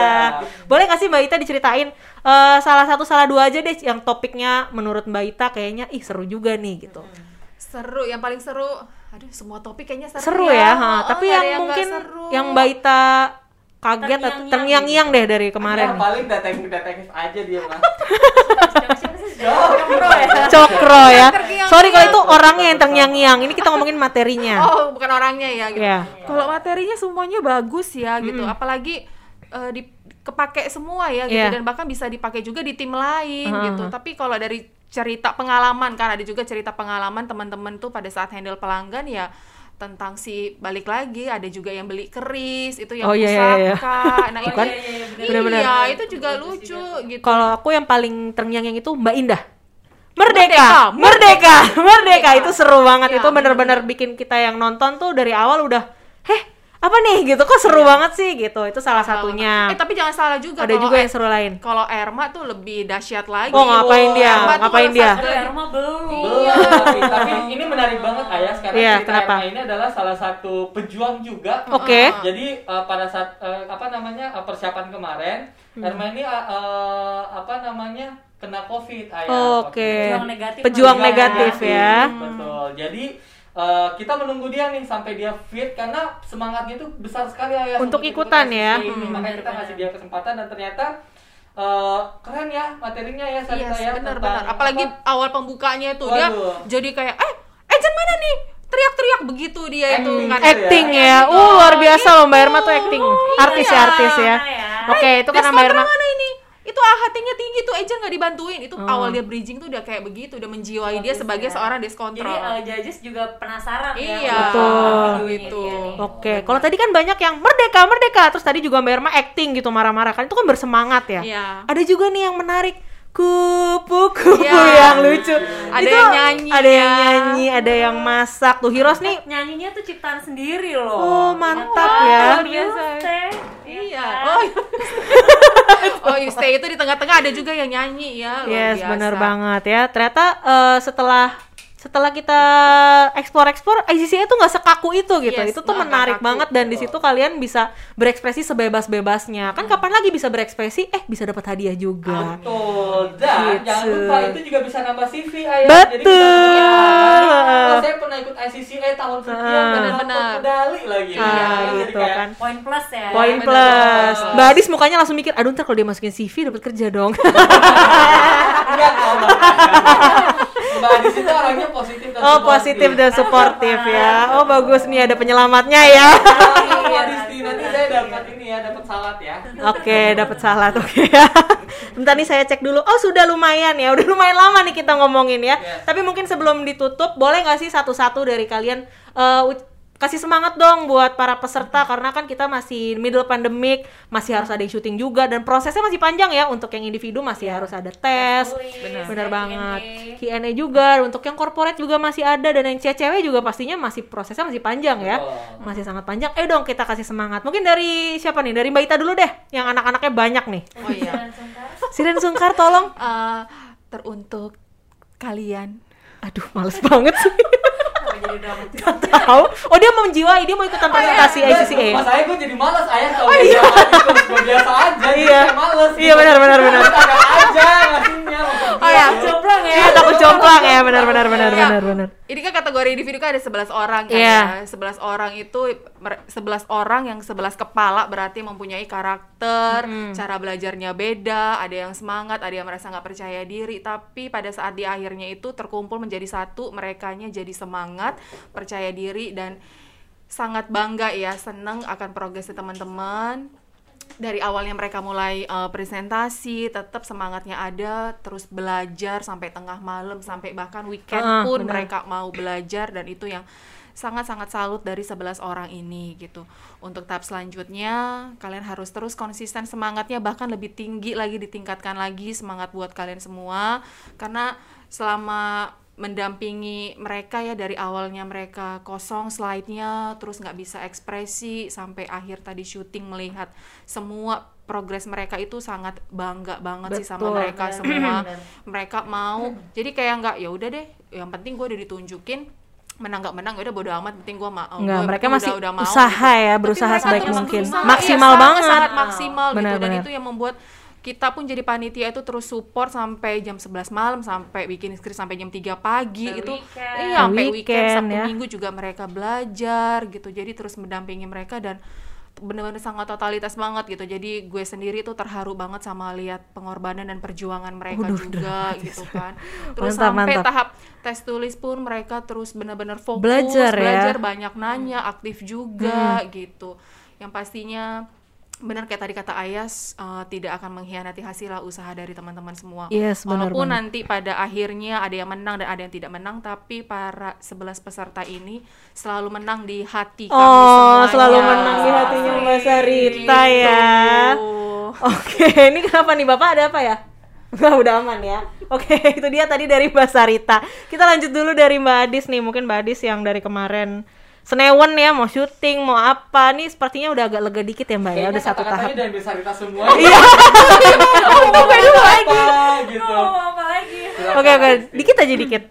tidak.
Boleh kasih Mbak Ita diceritain eh, salah satu salah dua aja deh yang topiknya menurut Mbak Ita kayaknya ih seru juga nih gitu.
seru yang paling seru aduh semua topik kayaknya seru,
Seru ya, ha.
Heeh,
tapi
oh, nggak ada
yang
nggak
mungkin
seru. gitu.
yang Mbak Ita kaget atau
Terngiang-ngiang
terngiang-ngiang deh dari kemarin.
Ya, paling detektif-detektif aja dia mah.
ya.
Cokro ya.
Terngiang-ngiang.
Sorry kalau itu orangnya yang terngiang-ngiang. Ini kita ngomongin materinya.
oh bukan orangnya ya gitu
Iya. Hmm.
kalau materinya semuanya bagus ya gitu apalagi eh, di kepake semua ya gitu
Iya.
dan bahkan bisa dipakai juga di tim lain
Heeh.
gitu tapi kalau dari cerita pengalaman kan ada juga cerita pengalaman teman-teman tuh pada saat handle pelanggan ya tentang si balik lagi ada juga yang beli keris itu yang
Oh, iya, iya, iya.
pusaka. nah itu
Bukan? Benar-benar.
iya itu juga lucu gitu
Kalau aku yang paling terngiang-ngiang itu Mbak Indah. Merdeka,
Merdeka,
merdeka, merdeka, itu seru banget.
Iya,
itu bener-bener bikin kita yang nonton tuh dari awal udah, heh, apa nih gitu? Kok seru banget sih gitu? Itu salah satunya.
Iya. Eh tapi jangan salah juga
Ada
kalau Erm eh,
juga yang seru lain.
Kalau Erma tuh lebih dahsyat lagi.
Oh ngapain
Wah,
dia?
Erma tuh
Ngapain
pada
dia?
saat
Aduh, rumah belum. Iya.
Iya.
Belum, tapi, tapi ini menarik banget Ayah sekarang
Iya,
cerita
kenapa?
Erna ini adalah salah satu pejuang juga.
Oke.
Jadi eh, pada saat eh, apa namanya eh, persiapan kemarin,
Hmm.
Erma ini eh, eh, apa namanya kena COVID Ayah.
Oke.
Pejuang negatif.
Pejuang
Juga
negatif ya.
negatif, iya,
Iya. Hmm.
Betul. Jadi eh, kita menunggu dia nih sampai dia fit karena semangatnya itu besar sekali ya
Untuk ikutan ya.
Hmm.
Ini Makanya kita ngasih dia kesempatan dan ternyata eh, keren ya materinya ya
Iya,
Sarita ya.
benar-benar.
tentang
Apalagi
apa-
awal pembukanya itu dia
Waduh.
jadi kayak eh agent mana nih? Teriak-teriak begitu dia itu
Acting.
kan.
Act-
Acting
Iya,
ya,
gitu.
uh luar biasa loh Mbak
Gitu.
Irma tuh acting,
Iya.
artis ya artis ya.
Iya.
Oke itu
Desk
karena Mbak
counter
Irma. Oh.
mana ini? Itu ah, hatinya tinggi tuh agent nggak dibantuin. Itu awal dia bridging tuh udah kayak begitu, udah menjiwai dia
Bagus
sebagai
ya.
seorang desk
Jadi
control.
eh, judges juga penasaran ya.
Iya,
Betul.
gitu.
Oke, kalau tadi kan banyak yang merdeka, merdeka. Terus tadi juga Mbak Irma acting gitu marah-marah kan. Itu kan bersemangat ya.
Iya.
Ada juga nih yang menarik. kupu-kupu
Iya.
yang lucu.
Ada yang nyanyi
ada yang
ya.
nyanyi, ada yang masak. Tuh Hiros nih
nyanyinya tuh ciptaan sendiri loh. Iya,
Oh, mantap
Ingat,
ya.
Kalau dia stay,
Iya.
kan?
Oh, oh you stay itu di tengah-tengah ada juga yang nyanyi ya. luar
Yes,
biasa.
bener banget ya. Ternyata eh, setelah setelah kita explore-explore, ICCA itu nggak sekaku itu gitu.
Yes,
itu tuh
nggak
menarik
kaku.
banget dan di situ kalian bisa berekspresi sebebas-bebasnya.
Hmm.
Kan kapan lagi bisa berekspresi? Eh, bisa dapat hadiah juga.
Betul. Dan
Gitu.
jangan lupa itu juga bisa nambah CV ayah. Jadi kita
Betul.
mengenal, "Oh, saya pernah ikut ICCA eh, tahun sekian dan
benar-benar.
dapat medali lagi.
Ah,
Ya, jadi
gitu
kayak,
kan.
Poin plus ya.
Poin
bener,
plus.
bener.
Mbak Adis mukanya langsung mikir, aduh ntar kalau dia masukin CV dapat kerja dong.
Enggak tahu Mbak. Mbak Adis itu orangnya positif dan
oh positif dan supportif ya. Oh bagus nih ada penyelamatnya ya.
Kalau Iya, Mbak Adisti nanti saya dapat ini ya, dapat salad ya.
Oke, dapat salah oke ya. Bentar nih saya cek dulu. Oh, sudah lumayan ya. Udah lumayan lama nih kita ngomongin ya.
Yes.
Tapi mungkin sebelum ditutup, boleh nggak sih satu-satu dari kalian eh, u- kasih semangat dong buat para peserta karena kan kita masih middle pandemic, masih harus ada yang syuting juga dan prosesnya masih panjang ya. Untuk yang individu masih harus ada tes.
Tulis,
Bener,
Q&A.
banget. Q&A juga untuk yang corporate juga masih ada dan yang cewek juga pastinya masih prosesnya masih panjang ya.
Betul.
Masih sangat panjang. Eh dong kita kasih semangat. Mungkin dari siapa nih? Dari Mbak Ita dulu deh yang anak-anaknya banyak nih.
Oh iya.
Jangan sungkan.
Siren Sungkar tolong.
Eh, teruntuk kalian.
Aduh, males banget sih.
Sampai jadi dramatis.
Tahu. Oh, dia mau menjiwai, dia mau ikutan presentasi
Ayah,
ICCA.
Mas ayah gue jadi malas ayah kalau oh, iya. biasa aja. jadi
Iya.
saya Malas.
Iya, benar, benar, benar.
Ada aja ngasihnya.
Oh ya,
Jomplang ya.
Iya, takut jomplang ya, benar-benar benar-benar benar.
Iya. Ini kan kategori individu kan ada 11 orang kan
Iya.
ya. 11 orang itu mer- 11 orang yang 11 kepala berarti mempunyai karakter, cara belajarnya beda, ada yang semangat, ada yang merasa nggak percaya diri, tapi pada saat di akhirnya itu terkumpul menjadi satu, merekanya jadi semangat, percaya diri dan sangat bangga ya, seneng akan progresnya teman-teman. Dari awalnya mereka mulai eh, presentasi, tetap semangatnya ada, terus belajar sampai tengah malam, sampai bahkan weekend
Ah,
pun
benar.
mereka mereka mau belajar dan itu yang sangat-sangat salut dari 11 orang ini gitu. Untuk tahap selanjutnya kalian harus terus konsisten semangatnya bahkan lebih tinggi lagi ditingkatkan lagi semangat buat kalian semua karena selama mendampingi mereka ya dari awalnya mereka kosong slide-nya terus nggak bisa ekspresi sampai akhir tadi syuting melihat semua progres mereka itu sangat bangga banget sih sama
Betul, Iya.
mereka
benar,
semua
benar.
mereka mau jadi kayak nggak ya udah deh yang penting gue udah ditunjukin menang nggak menang ya udah bodo amat penting gue mau
Enggak,
Gua
mereka
penting
masih
udah- udah mau,
usaha
gitu.
ya,
Tapi
berusaha
mereka
sebaik
tetap
mungkin.
berusaha,
Maksimal
iya, sangat-
banget.
sangat maksimal gitu dan
Benar-benar.
itu yang membuat kita pun jadi panitia itu terus support sampai jam 11 malam sampai bikin skrip sampai jam 3 pagi
Sampai
itu
weekend.
iya sampai
Weekend,
weekend, Sabtu
ya.
minggu juga mereka belajar gitu jadi terus mendampingi mereka dan bener-bener sangat totalitas banget gitu jadi gue sendiri tuh terharu banget sama lihat pengorbanan dan perjuangan mereka
Waduh,
juga gitu kan terus
Mantap,
sampai
mantap.
tahap tes tulis pun mereka terus bener-bener fokus
Belajar ya.
banyak nanya
Hmm.
aktif juga gitu yang pastinya benar kayak tadi kata Ayas eh, tidak akan mengkhianati hasil usaha dari teman-teman semua
Yes, benar
walaupun
banget.
nanti pada akhirnya ada yang menang dan ada yang tidak menang tapi para 11 peserta ini selalu menang di hati kami
Oh,
semuanya. Iya,
selalu menang di hatinya Mbak Sarita ya.
Gitu.
Oke, ini kenapa nih Bapak ada apa ya? Wah, udah aman ya. Oke, itu dia tadi dari Mbak Sarita. Kita lanjut dulu dari Mbak Adis nih. Mungkin Mbak Adis yang dari kemarin senewen ya, mau syuting, mau apa nih? Sepertinya udah agak lega dikit ya Mbak ya, udah satu tahap.
Katanya dan bisa cerita semua.
Iya.
Apa
dulu
lagi? Gitu.
Oh, apa lagi?
Oke oke, dikit aja dikit.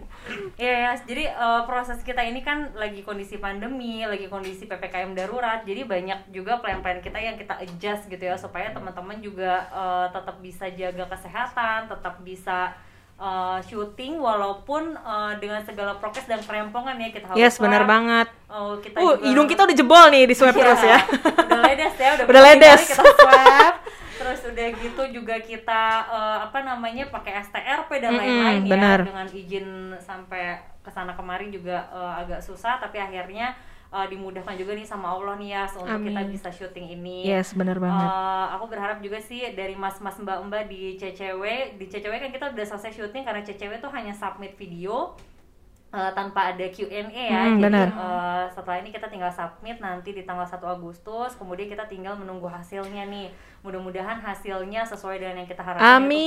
Iya ya, jadi eh, proses kita ini kan lagi kondisi pandemi, lagi kondisi PPKM darurat, jadi banyak juga plan-plan kita yang kita adjust gitu ya supaya teman-teman juga eh, tetap bisa jaga kesehatan, tetap bisa eh, syuting walaupun eh, dengan segala prokes dan perempongan ya kita harus.
Yes,
swab.
benar banget.
Eh, kita
Uh,
juga-
hidung kita udah jebol nih di swab
Iya,
terus ya.
udah ledes ya udah,
Udah
berkali-kali
ledes.
kita swab terus udah gitu juga kita eh, apa namanya pakai STRP dan
Mm-mm,
lain-lain ya
benar.
dengan izin sampai kesana kemari juga eh, agak susah tapi akhirnya eh, dimudahkan juga nih sama Allah nih ya untuk kita
Amin.
bisa syuting ini
Yes, benar banget.
Eh, aku berharap juga sih dari mas-mas mbak-mbak di CCW di CCW kan kita udah selesai syuting karena CCW tuh hanya submit video eh, tanpa ada Q&A ya.
Hmm,
Jadi
benar.
eh, setelah ini kita tinggal submit nanti di tanggal 1 Agustus, kemudian kita tinggal menunggu hasilnya nih. Mudah-mudahan hasilnya sesuai dengan yang kita harapkan. yaitu
Amin,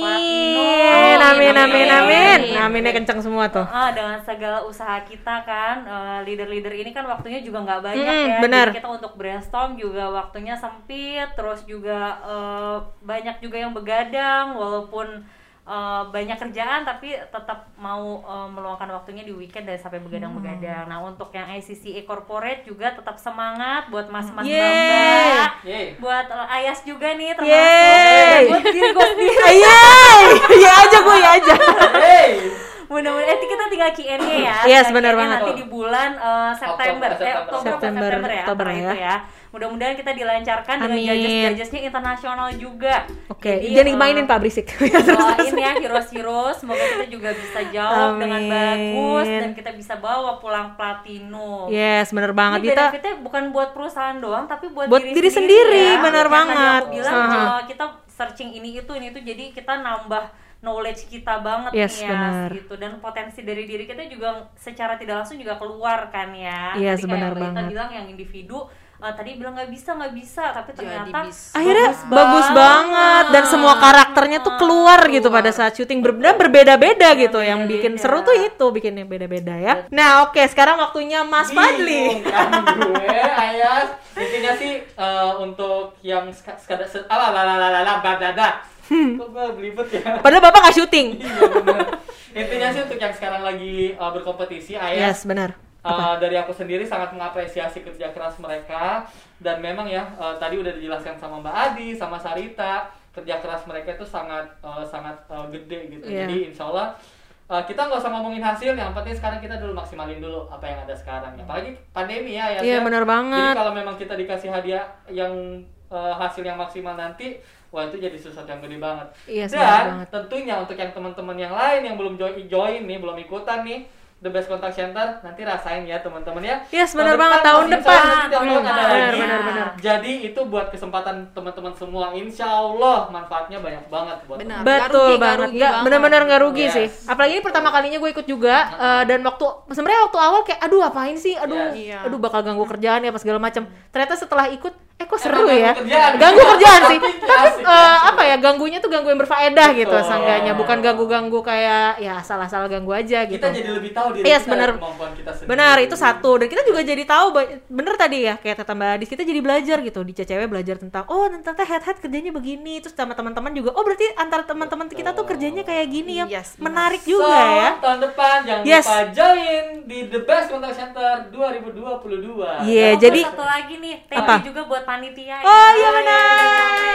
amin,
platinum.
amin, amin. ya,
Amin.
Aminnya kenceng semua tuh.
Ah, dengan segala usaha kita kan eh, leader-leader ini kan waktunya juga nggak banyak
Mm,
ya
benar.
Jadi kita untuk brainstorm juga waktunya sempit terus juga eh, banyak juga yang begadang walaupun eh, banyak kerjaan tapi tetap mau eh, meluangkan waktunya di weekend dan sampai
Hmm.
begadang-begadang nah untuk yang ICCA corporate juga tetap semangat buat mas-mas
Yeay.
mbak-mbak.
Yeay.
buat eh, ayas juga nih termasuk
Yeay.
buat diri gue sendiri
Yeay, ya aja gue ya aja.
Hey.
Mudah-mudahan eh, kita tinggal Q&A ya.
Yes,
Tinggal
benar
Q&A
banget.
Nanti di bulan eh, September,
Oktober,
eh,
September.
Oktober, apa
September,
September ya,
Oktober
antara
ya.
itu ya. Mudah-mudahan kita dilancarkan dengan
Amin.
judges-judgesnya internasional juga.
Oke,
Jadi,
jangan
eh,
dimainin Pak Berisik.
doain ya heroes-heroes semoga kita juga bisa jawab dengan
Amin.
bagus dan kita bisa bawa pulang platinum.
Yes, bener banget
Ini
kita.
benefitnya bukan buat perusahaan doang, tapi buat,
Buat diri sendiri,
ya.
benar
Yang tadi
banget.
Aku bilang
Aha.
eh, kita searching ini itu ini itu, jadi kita nambah knowledge kita banget
Yes,
nih ya,
benar.
gitu. Dan potensi dari diri kita juga secara tidak langsung juga keluar kan ya.
Yes,
Jadi
benar
kayak Mbak Ita
banget.
bilang yang individu eh, tadi bilang nggak bisa nggak bisa, tapi
Jadi
ternyata
bisa.
Akhirnya bagus banget dan semua karakternya tuh keluar gitu pada saat syuting berbeda berbeda-beda gitu yang bikin seru tuh itu bikinnya beda-beda ya. Nah, oke sekarang waktunya Mas Fadli.
Bingung kan gue, Ayas. Intinya sih eh, untuk yang sek- sekadar se- ala la la la la la bla bla bla.
Hmm.
Kok gue belibet ya?
Padahal Bapak nggak syuting.
Iya, bener. Intinya sih untuk yang sekarang lagi eh, berkompetisi,
Yes,
Ayas
benar.
Eh, dari aku sendiri sangat mengapresiasi kerja keras mereka dan memang ya eh, tadi udah dijelaskan sama Mbak Adi sama Sarita kerja keras mereka itu sangat eh, sangat eh, gede gitu
Iya.
jadi insya Allah eh, kita nggak usah ngomongin hasil yang penting sekarang kita dulu maksimalin dulu apa yang ada sekarang apalagi pandemi ya ya
Iya,
Seth.
benar banget.
jadi kalau memang kita dikasih hadiah yang eh, hasil yang maksimal nanti wah itu jadi sesuatu yang gede banget
Iya, benar
dan
banget.
tentunya untuk yang teman-teman yang lain yang belum join join nih belum ikutan nih The Best Contact Center nanti rasain ya teman-teman ya.
Yes,
Tahun
benar banget,
depan,
tahun
masih insya Allah
depan.
nanti tahun
Hmm,
depan ada
benar,
lagi.
benar,
benar.
Jadi itu buat kesempatan teman-teman semua Insya Allah manfaatnya banyak banget buat
Benar.
teman-teman.
Nggak
Betul
rugi,
banget,
nggak rugi
nggak
banget. Iya.
benar-benar nggak rugi
Yes.
sih. Apalagi ini pertama kalinya gue ikut juga eh, dan waktu sebenarnya waktu awal kayak aduh apain sih, aduh,
Yes.
Iya.
aduh bakal ganggu kerjaan ya apa segala macam. Ternyata setelah ikut, eh kok
Emang
seru
ganggu
ya,
kerjaan.
ganggu kerjaan sih.
Asik,
Tapi
asik, iya,
eh,
asik.
apa ya ganggunya tuh ganggu yang berfaedah gitu,
Betul. Iya.
seenggaknya bukan ganggu-ganggu kayak ya salah-salah ganggu aja gitu.
Kita jadi lebih tahu diri
Yes,
kita
benar.
kemampuan kita sendiri.
Benar, itu satu. Dan kita juga jadi tahu ba- bener tadi ya, kayak kata Mbak Adis, kita jadi belajar gitu di CCW belajar tentang oh ternyata head head kerjanya begini, terus sama teman-teman juga. Oh, berarti antara teman-teman kita tuh kerjanya kayak gini ya.
Yes,
menarik
So,
juga ya.
Tahun depan jangan
Yes.
lupa join di The Best Contact Center 2022.
Iya,
Oh,
jadi
satu lagi nih, thank
Apa?
you juga buat panitia. ya.
Oh, iya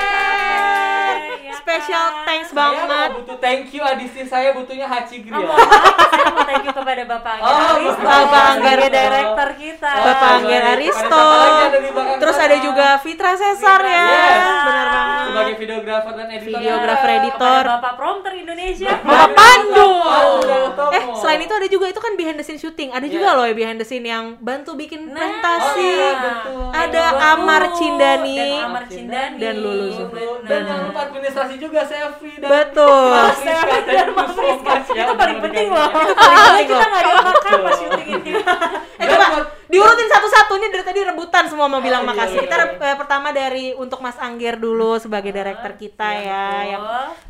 benar.
Iya kan?
Special thanks
Saya
banget.
nggak butuh thank you Adisti saya butuhnya Hachi Grill.
Oh, Saya mau thank you kepada Bapak Angga
Oh,
Aristo,
Bapak Angga
sebagai
Aristo.
director kita.
Oh,
Bapak Angger
baik.
Aristo.
Ada siapa lagi ada di belakang
Terus
sana?
ada juga Fitra Cesar ya.
Yes.
Benar banget.
Sebagai videografer dan editor.
Videografer, editor.
Kepada Eh, Bapak Prompter Indonesia.
Bapak Pandu.
Pandu.
Eh, selain itu ada juga itu kan behind the scene shooting. Ada juga
Yes.
loh ya behind the scene yang bantu bikin
Nah,
Oh,
presentasi.
iya, betul.
Ada
Bapak
Amar
Lulu,
Cindani.
dan Amar Cindani
Dan Lulu
Betul.
Benar.
Dan jangan lupa administrasi juga Selfie dan
Betul.
Mas
Saya
Rizka. Thank
dan
you
Mas
so
Rizka.
much ya
Itu paling
udah
penting loh.
mendengarkan.
Itu paling penting
loh.
kita nggak dimakan pas syuting ini.
Eh coba
Dan-
diurutin satu-satunya dari tadi rebutan semua mau bilang
Oh, iya,
makasih.
iya,
Kita
iya.
rep- eh, pertama dari untuk Mas Angger dulu sebagai director kita
iya,
ya
betul.
yang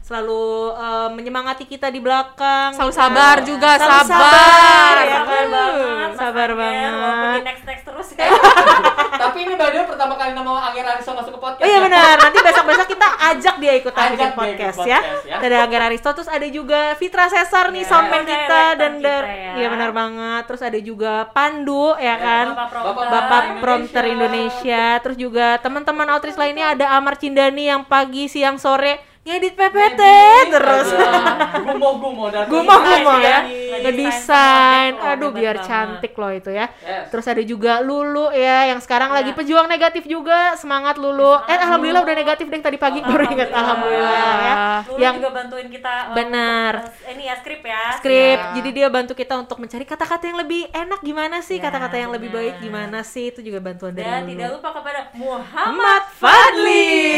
selalu eh, menyemangati kita di belakang.
Selalu sabar juga,
Selalu
sabar.
sabar, ya
Sabar
kan?
banget. Mas
Sabar
Angger,
banget.
Walaupun di next next terus ya.
Tapi ini by the way pertama kali nama Angger Aristo masuk ke podcast.
Oh iya
ya.
benar. Nanti besok-besok kita ajak dia ikutan
Ajak
bikin
dia
podcast,
ikut
ya.
podcast, ya.
Ada Angga Aristo terus ada juga Fitra Cesar nih
Iya.
soundman
Oke,
kita
welcome
dan dar
kita ya.
iya benar banget. Terus ada juga Pandu ya kan.
Bapak Prompter.
Bapak Prompter Indonesia, terus juga teman-teman autris lainnya ada Amar Cindani yang pagi, siang, sore ngedit PPT terus.
Gumo-gumo dan
Gumoh-gumoh ya, ngedesain,
Yes.
Ngedesain
aduh
cantik loh,
biar
hebat
cantik loh itu ya.
Yes.
Terus ada juga Lulu ya, yang sekarang
Iya.
lagi pejuang negatif juga, semangat Lulu. Eh alhamdulillah udah negatif deh tadi pagi baru ingat alhamdulillah ya.
Lulu
Yang
juga bantuin kita. eh,
Benar.
untuk, eh, Ini ya skrip ya.
skrip,
Ya.
jadi dia bantu kita untuk mencari kata-kata yang lebih enak gimana sih,
Ya.
kata-kata yang lebih baik gimana sih, itu juga bantuan dari
Dan
Lulu.
tidak lupa kepada Muhammad
Ahmad Fadli.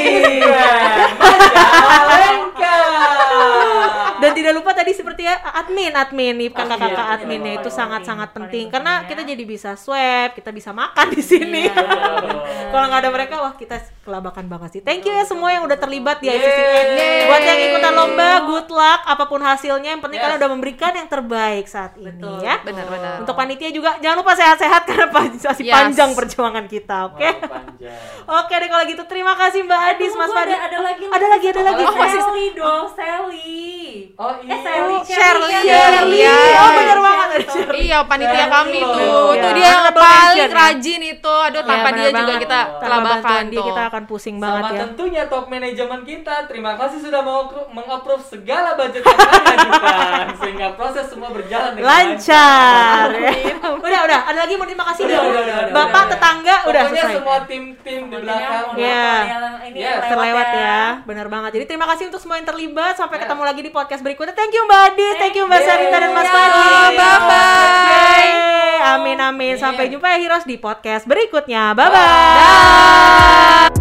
Majalengka.
Dan tidak lupa tadi seperti ya admin, admin nih kakak-kakak
Iya,
adminnya
betul.
itu
Paling
sangat-sangat
penting,
penting
paling
karena
penting ya.
kita jadi bisa swab, kita bisa makan di sini.
Iya,
betul.
Kalau nggak ada mereka, wah kita kelabakan banget sih. Thank you ya semua yang udah terlibat di
Yeay.
ICCN.
Yeay.
Buat yang ikutan lomba, good luck apapun hasilnya. Yang penting
Yes.
kalian udah memberikan yang terbaik saat
Betul.
ini ya.
Benar-benar.
Untuk panitia juga jangan lupa sehat-sehat karena masih
Yes.
panjang perjuangan kita, oke?
Waduh, panjang.
Oke deh kalau gitu terima kasih Mbak Adis, Mas
Tunggu,
Fadli.
Ada, ada lagi,
Ada lagi, ada lagi.
Oh,
Oh, masih-
Sally dong, Sally.
Oh iya.
Eh, Sally,
Oh,
Shirley,
Iya,
Shirley.
Shirley.
Shirley.
Oh, bener banget.
Shirley, sorry.
Iya panitia
Shirley
kami
loh.
tuh,
Iya.
tuh dia yang
Honorable
paling
mention ya.
rajin itu. Aduh
Iya,
tanpa
benar
dia juga
banget.
kita
Tanpa bantuan
kelabakan
dia
tuh.
kita akan pusing banget
Sama
ya.
tentunya top manajemen kita. Terima kasih sudah mau mengapprove segala budget yang kami ajukan sehingga proses semua berjalan dengan
Lancar. udah, udah. Ada lagi mau terima kasih
Udah,
dong.
udah, udah, udah,
Bapak
udah.
tetangga udah
Pokoknya
selesai.
semua tim-tim di belakang.
Pokoknya
Iya.
yang ini
Yes,
yang
terlewat ya. Benar banget. Jadi terima kasih untuk semua yang terlibat. Sampai ketemu lagi di podcast berikutnya. Thank you Mbak Adis, thank you Ya, Mbak
Thank
Sarita dan Mas
you.
Fadli.
Bye-bye.
Yeay. Amin amin. Sampai
Amin.
jumpa ya Heroes di podcast berikutnya. Bye bye.
Bye.